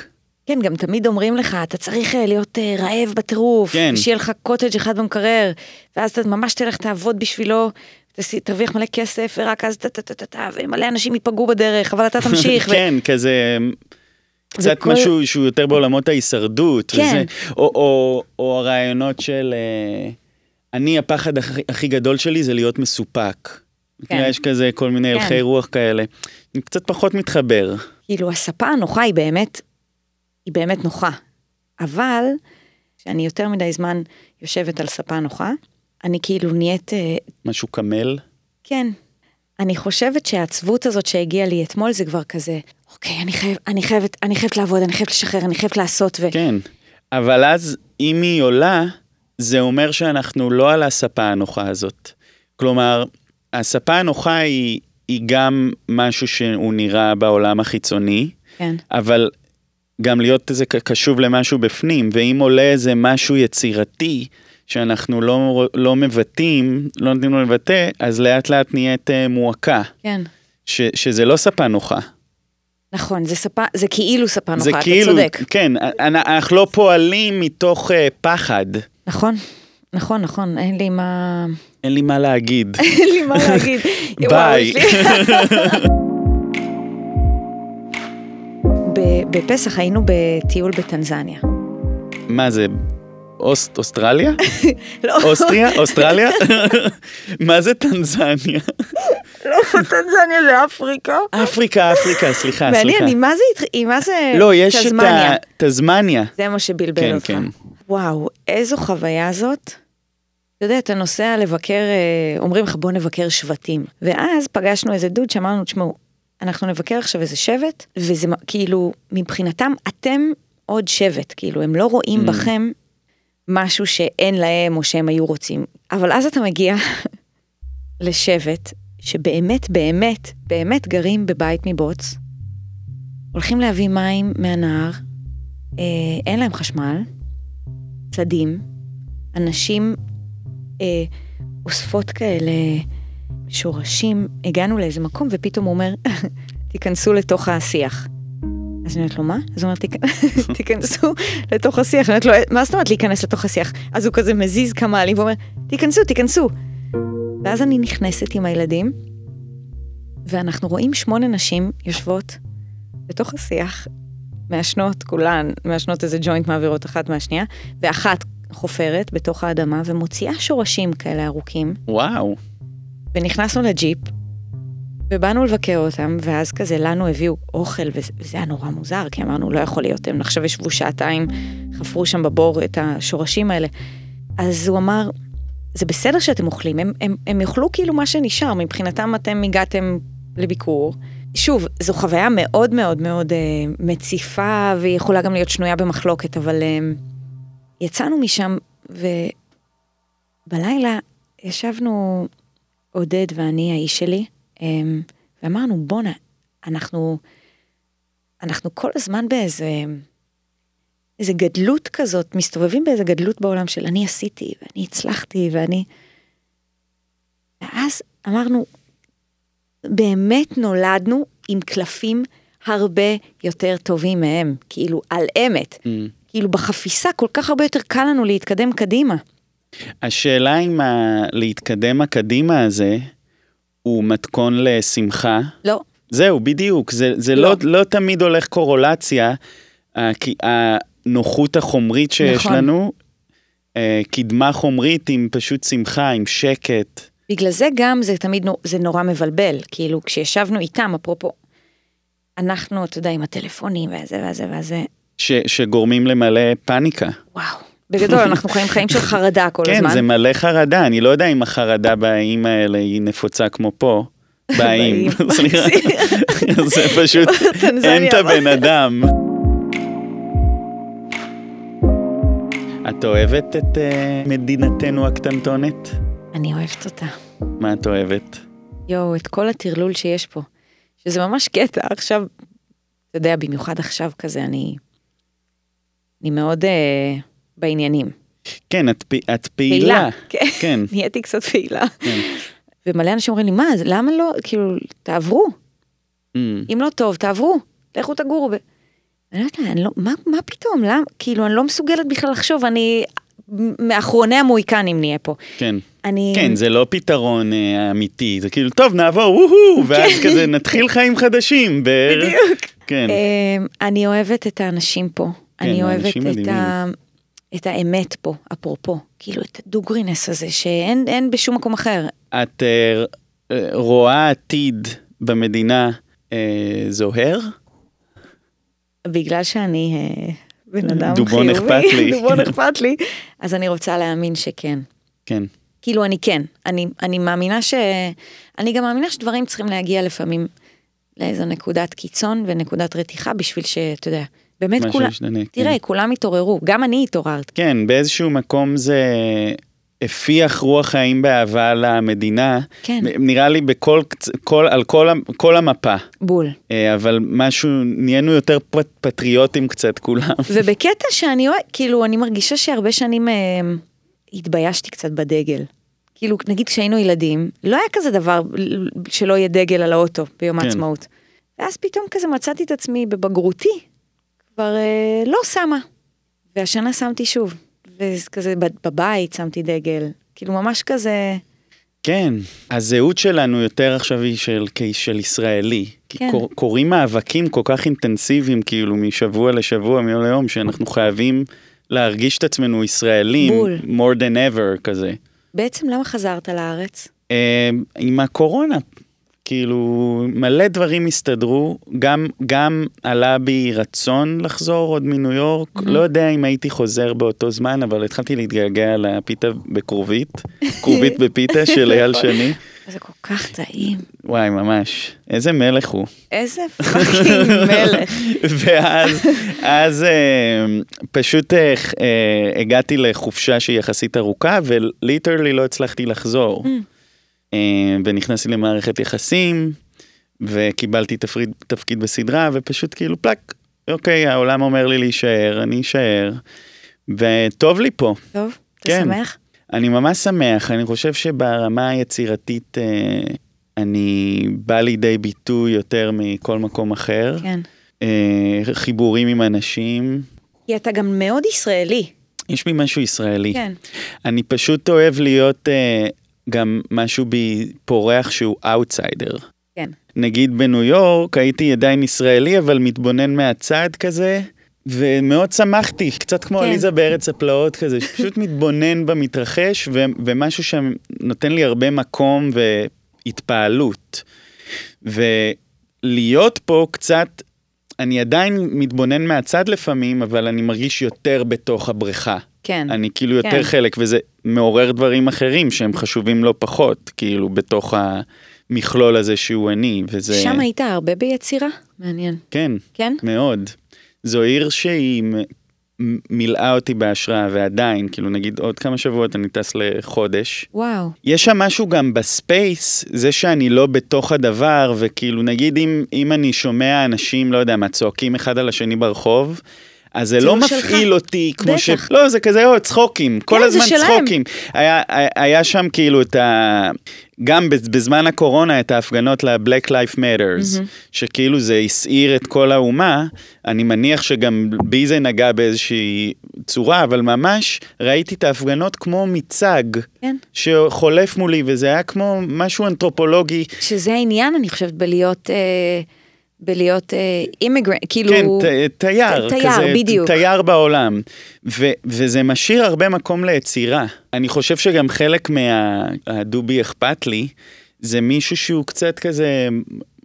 כן, גם תמיד אומרים לך, אתה צריך אה, להיות אה, רעב בטירוף, כן. שיהיה לך קוטג' אחד במקרר, ואז אתה ממש תלך תעבוד בשבילו, תס- תרוויח מלא כסף, ורק אז טה-טה-טה-טה, ומלא אנשים ייפגעו בדרך, אבל אתה תמשיך. ו- כן, כזה... קצת וכל- משהו שהוא יותר בעולמות ההישרדות. כן. וזה, או, או, או הרעיונות של... אה, אני, הפחד הכי, הכי גדול שלי זה להיות מסופק. כן. כן. יש כזה כל מיני כן. הלכי רוח כאלה. אני קצת פחות מתחבר. כאילו הספה הנוחה היא באמת, היא באמת נוחה. אבל, כשאני יותר מדי זמן יושבת על ספה נוחה, אני כאילו נהיית, אה, משהו קמל. כן, אני חושבת שהעצבות הזאת שהגיעה לי אתמול זה כבר כזה, אוקיי, אני, חייב, אני חייבת, אני חייבת לעבוד, אני חייבת לשחרר, אני חייבת לעשות, ו... כן. אבל אז, אם היא עולה, זה אומר שאנחנו לא על הספה הנוחה הזאת. כלומר, הספה הנוחה היא, היא גם משהו שהוא נראה בעולם החיצוני. כן. אבל גם להיות איזה ק- קשוב למשהו בפנים, ואם עולה איזה משהו יצירתי שאנחנו לא, לא מבטאים, לא נותנים לו לבטא, אז לאט לאט נהיית אה, מועקה, כן. ש, שזה לא ספה נוחה. נכון, זה ספה, זה כאילו ספה נוחה, זה אתה כאילו, צודק. כן, אנ- אנחנו לא פועלים מתוך אה, פחד, נכון, נכון, נכון, אין לי מה... אין לי מה להגיד. אין לי מה להגיד. וואו, ביי. יש לי- ב- בפסח היינו בטיול בטנזניה. מה זה, אוסט, אוסטרליה? לא, אוסטריה? אוסטרליה? מה זה טנזניה? לא, טנזניה זה אפריקה. אפריקה, אפריקה, סליחה, ואני, סליחה. אני, מה זה, התח- היא מה זה לא, יש את תזמניה? ה... תזמניה. זה מה שבלבל כן, אותך. כן. וואו, איזו חוויה זאת. אתה יודע, אתה נוסע לבקר, אה, אומרים לך בוא נבקר שבטים. ואז פגשנו איזה דוד שאמרנו, תשמעו, אנחנו נבקר עכשיו איזה שבט, וזה מ- כאילו, מבחינתם אתם עוד שבט, כאילו, הם לא Mm. רואים בכם משהו שאין להם או שהם היו רוצים. אבל אז אתה מגיע לשבט שבאמת, באמת, באמת גרים בבית מבוץ, הולכים להביא מים מהנהר, אה, אין להם חשמל, צדים, אנשים אה, אוספות כאלה שורשים, הגענו לאיזה מקום ופתאום הוא אומר, תיכנסו לתוך השיח. אז אני אומרת לו, מה? אז הוא אומר, "תיכ- תיכנסו לתוך השיח. אני אומרת לו, מה זאת אומרת להיכנס לתוך השיח? אז הוא כזה מזיז כמה עלים ואומר, תיכנסו, תיכנסו. ואז אני נכנסת עם הילדים, ואנחנו רואים שמונה נשים יושבות בתוך השיח, מעשנות כולן, מעשנות איזה ג'וינט מעבירות אחת מהשנייה, ואחת חופרת בתוך האדמה ומוציאה שורשים כאלה ארוכים, וואו. ונכנסנו לג'יפ, ובאנו לבקר אותם, ואז כזה לנו הביאו אוכל, וזה וזה היה נורא מוזר, כי אמרנו, לא יכול להיות, הם עכשיו ישבו שעתיים, חפרו שם בבור את השורשים האלה. אז הוא אמר, זה בסדר שאתם אוכלים, הם, הם, הם יאכלו כאילו מה שנשאר, מבחינתם אתם הגעתם לביקור. שוב, זו חוויה מאוד מאוד מאוד אה, מציפה, והיא יכולה גם להיות שנויה במחלוקת, אבל אה, יצאנו משם, ובלילה ישבנו עודד ואני, האיש שלי, אה, ואמרנו, בואנה, אנחנו, אנחנו כל הזמן באיזה... איזה גדלות כזאת, מסתובבים באיזה גדלות בעולם של אני עשיתי, ואני הצלחתי, ואני... ואז אמרנו, באמת נולדנו עם קלפים הרבה יותר טובים מהם, כאילו על אמת. Mm. כאילו בחפיסה כל כך הרבה יותר קל לנו להתקדם קדימה. השאלה אם ה... להתקדם הקדימה הזה הוא מתכון לשמחה. לא. זהו, בדיוק, זה, זה לא. לא. לא, לא תמיד הולך קורולציה, אה, כי הנוחות החומרית שיש נכון. לנו, אה, קדמה חומרית עם פשוט שמחה, עם שקט. בגלל זה גם זה תמיד נו- זה נורא מבלבל, כאילו כשישבנו איתם, אפרופו, אנחנו, אתה יודע, עם הטלפונים והזה והזה והזה, ש, שגורמים למלא פאניקה. וואו. בגדול, אנחנו חיים חיים של חרדה כל כן, הזמן. זה מלא חרדה, אני לא יודע אם החרדה באיים האלה היא נפוצה כמו פה. באיים, באיים. סליחה, זה פשוט, טנזניה, אין את אבל- הבן אדם. את אוהבת את אה, מדינתנו הקטנטונת? אני אוהבת אותה. מה את אוהבת? יואו, את כל הטרלול שיש פה. שזה ממש קטע, עכשיו, אתה יודע, במיוחד עכשיו כזה, אני... אני מאוד אה, בעניינים. כן, את, פ- את פעילה. כן. כן, נהייתי קצת פעילה. כן. ומלא אנשים אומרים לי, מה, אז למה לא, כאילו, תעברו. אמ, אם לא טוב, תעברו. לכו תגורו. ב... אני אומרת לה, אני לא, מה, מה פתאום, למה? כאילו, אני לא מסוגלת בכלל לחשוב, אני מאחרוני המוהיקנים נהיה פה. כן. אני... כן, זה לא פתרון אה, אמיתי, זה כאילו, טוב, נעבור, כן. וואו, ואז כזה נתחיל חיים חדשים. בדיוק. כן, אמ, אני אוהבת את האנשים פה. אני אוהבת האנשים את, ה... את האמת פה, אפרופו. כאילו, את הדוגרינס הזה, שאין אין בשום מקום אחר. את אה, אה, רואה עתיד במדינה אה, זוהר? בגלל שאני אה, בן אדם דובון חיובי, אכפת לי. דובון אכפת לי, אז אני רוצה להאמין שכן. כן. כאילו, אני כן. אני, אני מאמינה ש... אני גם מאמינה שדברים צריכים להגיע לפעמים לאיזו נקודת קיצון ונקודת רתיחה, בשביל שאתה יודע, באמת משהו כולם... ישתנה, כן. תראה, כולם התעוררו, גם אני התעוררתי. כן, באיזשהו מקום זה הפיח רוח חיים באהבה למדינה. כן. מ- נראה לי בכל, קצ- כל, על כל, המ- כל המפה. בול. אה, אבל משהו, נהיינו יותר פ- פטריוטים קצת כולם. ובקטע שאני אוהב, כאילו, אני מרגישה שהרבה שנים אה, התביישתי קצת בדגל. כאילו, נגיד כשהיינו ילדים, לא היה כזה דבר שלא יהיה דגל על האוטו ביום כן. העצמאות. ואז פתאום כזה מצאתי את עצמי בבגרותי, כבר אה, לא שמה. והשנה שמתי שוב. וכזה בב- בבית שמתי דגל. כאילו, ממש כזה... כן, הזהות שלנו יותר עכשיו היא של, כי- של ישראלי. כי כן. קור, קורים מאבקים כל כך אינטנסיביים, כאילו, משבוע לשבוע, מיום ליום, שאנחנו חייבים להרגיש את עצמנו ישראלים, בול. more than ever כזה. בעצם למה חזרת לארץ? אה, עם הקורונה, כאילו, מלא דברים הסתדרו, גם, גם עלה בי רצון לחזור עוד מניו יורק, mm-hmm. לא יודע אם הייתי חוזר באותו זמן, אבל התחלתי להתגעגע לפיתה בכרובית, כרובית בפיתה של אייל נכון. שני. זה כל כך טעים. וואי, ממש. איזה מלך הוא. איזה פאקינג מלך. ואז אז, אה, פשוט אה, אה, הגעתי לחופשה שהיא יחסית ארוכה, וליטרלי לא הצלחתי לחזור. אה, ונכנסתי למערכת יחסים, וקיבלתי תפריד, תפקיד בסדרה, ופשוט כאילו פלאק, אוקיי, העולם אומר לי להישאר, אני אשאר, וטוב לי פה. טוב, אתה כן. שמח? אני ממש שמח, אני חושב שברמה היצירתית אה, אני בא לידי ביטוי יותר מכל מקום אחר. כן. אה, חיבורים עם אנשים, כי אתה גם מאוד ישראלי. יש בי משהו ישראלי. כן. אני פשוט אוהב להיות אה, גם משהו בי פורח שהוא אאוטסיידר. כן. נגיד בניו יורק הייתי עדיין ישראלי אבל מתבונן מהצד כזה. ומאוד שמחתי, קצת כמו כן. עליזה בארץ הפלאות כזה, שפשוט מתבונן במתרחש, ו- ומשהו שנותן לי הרבה מקום והתפעלות. ולהיות פה קצת, אני עדיין מתבונן מהצד לפעמים, אבל אני מרגיש יותר בתוך הבריכה. כן. אני כאילו יותר כן. חלק, וזה מעורר דברים אחרים שהם חשובים לא פחות, כאילו, בתוך המכלול הזה שהוא אני, וזה... שם היית הרבה ביצירה? מעניין. כן, כן? מאוד. זו עיר שהיא מ- מ- מילאה אותי בהשראה, ועדיין, כאילו, נגיד עוד כמה שבועות אני טס לחודש. וואו. יש שם משהו גם בספייס, זה שאני לא בתוך הדבר, וכאילו נגיד אם, אם אני שומע אנשים, לא יודע מה, צועקים אחד על השני ברחוב, אז זה לא ציור שלך. מפעיל אותי כמו בטח. ש... לא, זה כזה או, צחוקים, כן, כל לא, זה הזמן שלהם. צחוקים. היה, היה, היה שם כאילו את ה... גם בז- בזמן הקורונה את ההפגנות ל-Black Life Matters, שכאילו זה הסעיר את כל האומה, אני מניח שגם בי זה נגע באיזושהי צורה, אבל ממש ראיתי את ההפגנות כמו מיצג. כן. שחולף מולי, וזה היה כמו משהו אנתרופולוגי. שזה העניין, אני חושבת, בלהיות... אה, בלהיות אימיגרנט, כאילו... כן, ת, תייר, ת- תייר, כזה, בדיוק. תייר בעולם. ו, וזה משאיר הרבה מקום ליצירה. אני חושב שגם חלק מהדובי אכפת לי, זה מישהו שהוא קצת כזה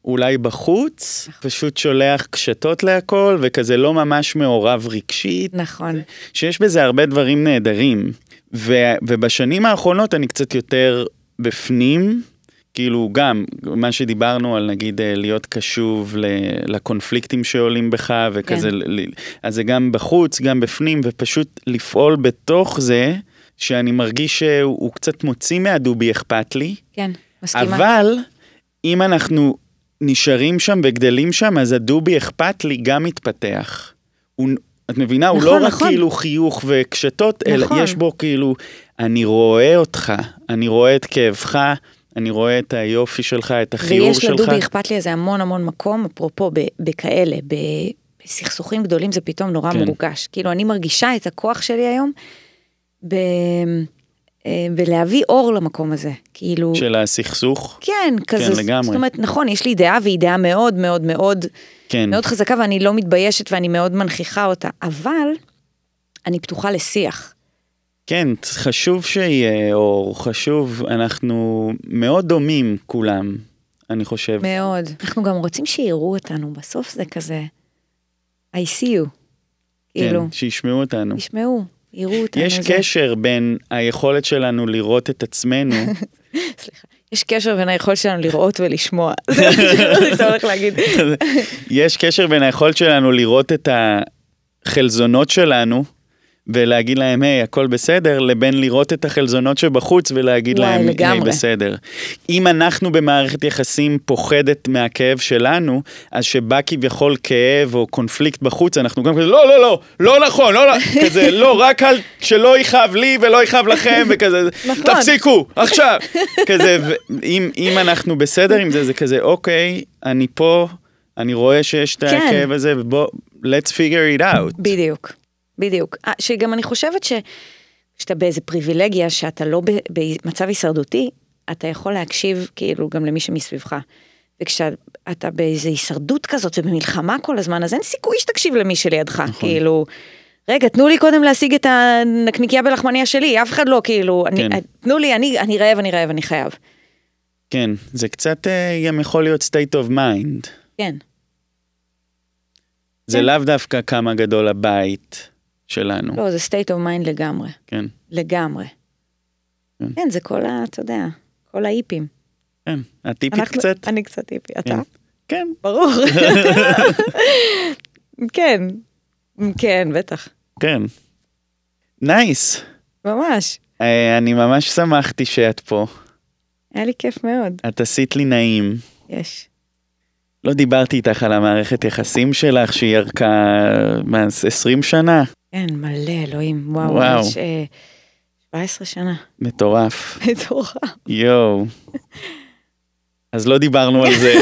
אולי בחוץ, פשוט שולח קשתות להכל, וכזה לא ממש מעורב רגשית. נכון. שיש בזה הרבה דברים נהדרים. ו, ובשנים האחרונות אני קצת יותר בפנים, כאילו גם מה שדיברנו על נגיד אה, להיות קשוב ל- לקונפליקטים שעולים בך וכזה, כן. ל- ל- אז זה גם בחוץ, גם בפנים, ופשוט לפעול בתוך זה, שאני מרגיש שהוא הוא קצת מוציא מהדובי אכפת לי, כן, מסכימה. אבל אם אנחנו נשארים שם וגדלים שם, אז הדובי אכפת לי גם מתפתח. הוא, את מבינה? הוא נכון, לא נכון. רק כאילו חיוך וקשתות, נכון. אלא יש בו כאילו, אני רואה אותך, אני רואה את כאבך, אני רואה את היופי שלך, את החיור ויש שלך. לדובי אכפת לי איזה המון המון מקום, אפרופו ב- בכאלה, ב- בסכסוכים גדולים זה פתאום נורא כן. מורגש. כאילו, אני מרגישה את הכוח שלי היום ב- אה, בלהביא אור למקום הזה. כאילו... של הסכסוך. כן, כזה, לגמרי. זאת אומרת, נכון, יש לי דעה והיא דעה מאוד מאוד מאוד כן. מאוד חזקה ואני לא מתביישת ואני מאוד מנכיחה אותה, אבל אני פתוחה לשיח. כן, חשוב שיהיה אור, חשוב, אנחנו מאוד דומים כולם, אני חושב. מאוד. אנחנו גם רוצים שיראו אותנו, בסוף זה כזה, I see you. כאילו, כן, שישמעו אותנו. ישמעו, יראו אותנו. יש זה- קשר בין היכולת שלנו לראות את עצמנו, סליחה. יש קשר בין היכולת שלנו לראות ולשמוע. זה מה שאתה הולך להגיד. יש קשר בין היכולת שלנו לראות את החלזונות שלנו ולהגיד להם, היי, הכל בסדר, לבין לראות את החלזונות שבחוץ ולהגיד וואי, להם, היי, לגמרי. בסדר. אם אנחנו במערכת יחסים פוחדת מהכאב שלנו, אז שבא כביכול כאב או קונפליקט בחוץ, אנחנו גם כזה, לא, לא, לא, לא נכון, לא, לא, כזה, לא, רק אל, שלא יכאב לי ולא יכאב לכם, וכזה, נכון. תפסיקו, עכשיו. כזה, ו- אם, אם אנחנו בסדר עם זה, זה כזה, אוקיי, אני פה, אני רואה שיש את כן. הכאב הזה, ובוא, let's figure it out. בדיוק, בדיוק. אה, שגם אני חושבת ש- שאתה באיזה פריבילגיה, שאתה לא ב- במצב הישרדותי, אתה יכול להקשיב כאילו גם למי שמסביבך. וכשאתה באיזה הישרדות כזאת ובמלחמה כל הזמן, אז אין סיכוי שתקשיב למי שלידך, נכון. כאילו... רגע, תנו לי קודם להשיג את הנקניקייה בלחמניה שלי, אף אחד לא, כאילו, כן. כן. אני, תנו לי, אני, אני רעב, אני רעב, אני חייב. כן, זה קצת אה, גם יכול להיות state of mind. כן, זה לאו דווקא כמה גדול הבית שלנו, לא, זה state of mind לגמרי, כן. לגמרי. כן, כן. כן זה כל ה, אתה יודע, כל האיפים. כן, הטיפית אנחנו- קצת. אני קצת היפי, אתה? כן. כן, ברור. כן, כן, בטח, כן. נייס. ממש. אה, אני ממש שמחתי שאת פה. היה לי כיף מאוד, את עשית לי נעים. יש. לא דיברתי איתך על המערכת יחסים שלך שהיא ערכה, מה, 20 שנה? כן, מלא, אלוהים, וואו, וואו. ממש, אה, 17 שנה, מטורף. מטורף. יואו. אז לא דיברנו על זה,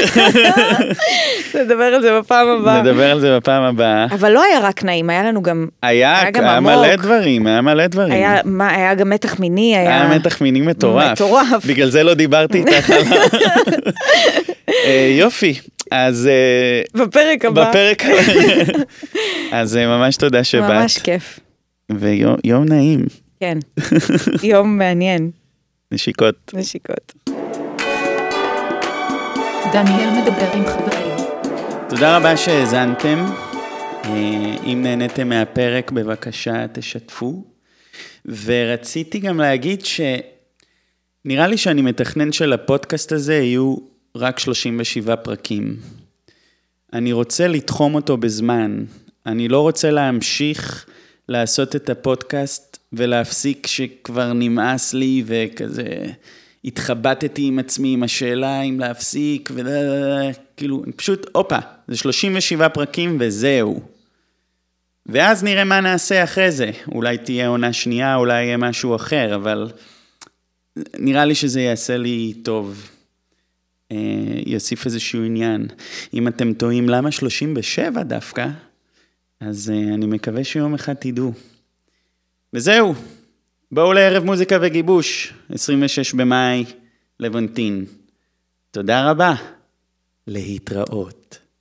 נדבר על זה בפעם הבאה. נדבר על זה בפעם הבאה. אבל לא היה רק נעים, היה לנו גם, היה, היה גם היה עמוק. מלא דברים, היה מלא דברים. היה מה, היה גם מתח מיני, היה... כן. היה מתח מיני מטורף. מטורף. בגלל זה לא דיברתי איתך על ה... אה, יופי, אז אה, בפרק הבא. בפרק... אז אה, ממש תודה שבאת. ממש כיף, ויום יום נעים, כן. יום מעניין, נשיקות. נשיקות. דניאל מדבר עם חברים. תודה רבה שהאזנתם. אה, אם נהניתם מהפרק, בבקשה תשתפו. ורציתי גם להגיד שנראה לי שאני מתכנן שלפודקאסט הזה יהיו רק 37 פרקים. אני רוצה לתחום אותו בזמן. אני לא רוצה להמשיך לעשות את הפודקאסט ולהפסיק כשכבר נמאס לי וכזה התחבטתי עם עצמי עם השאלה אם להפסיק ודה... כאילו, פשוט, הופה, זה 37 פרקים וזהו. ואז נראה מה נעשה אחרי זה. אולי תהיה עונה שנייה, אולי יהיה משהו אחר, אבל נראה לי שזה יעשה לי טוב. אה, יוסיף איזשהו עניין. אם אתם תוהים למה 37 דווקא, אז אה, אני מקווה שיום אחד תדעו. וזהו, בואו לערב מוזיקה וגיבוש, 26 במאי, לבנטין. תודה רבה, להתראות.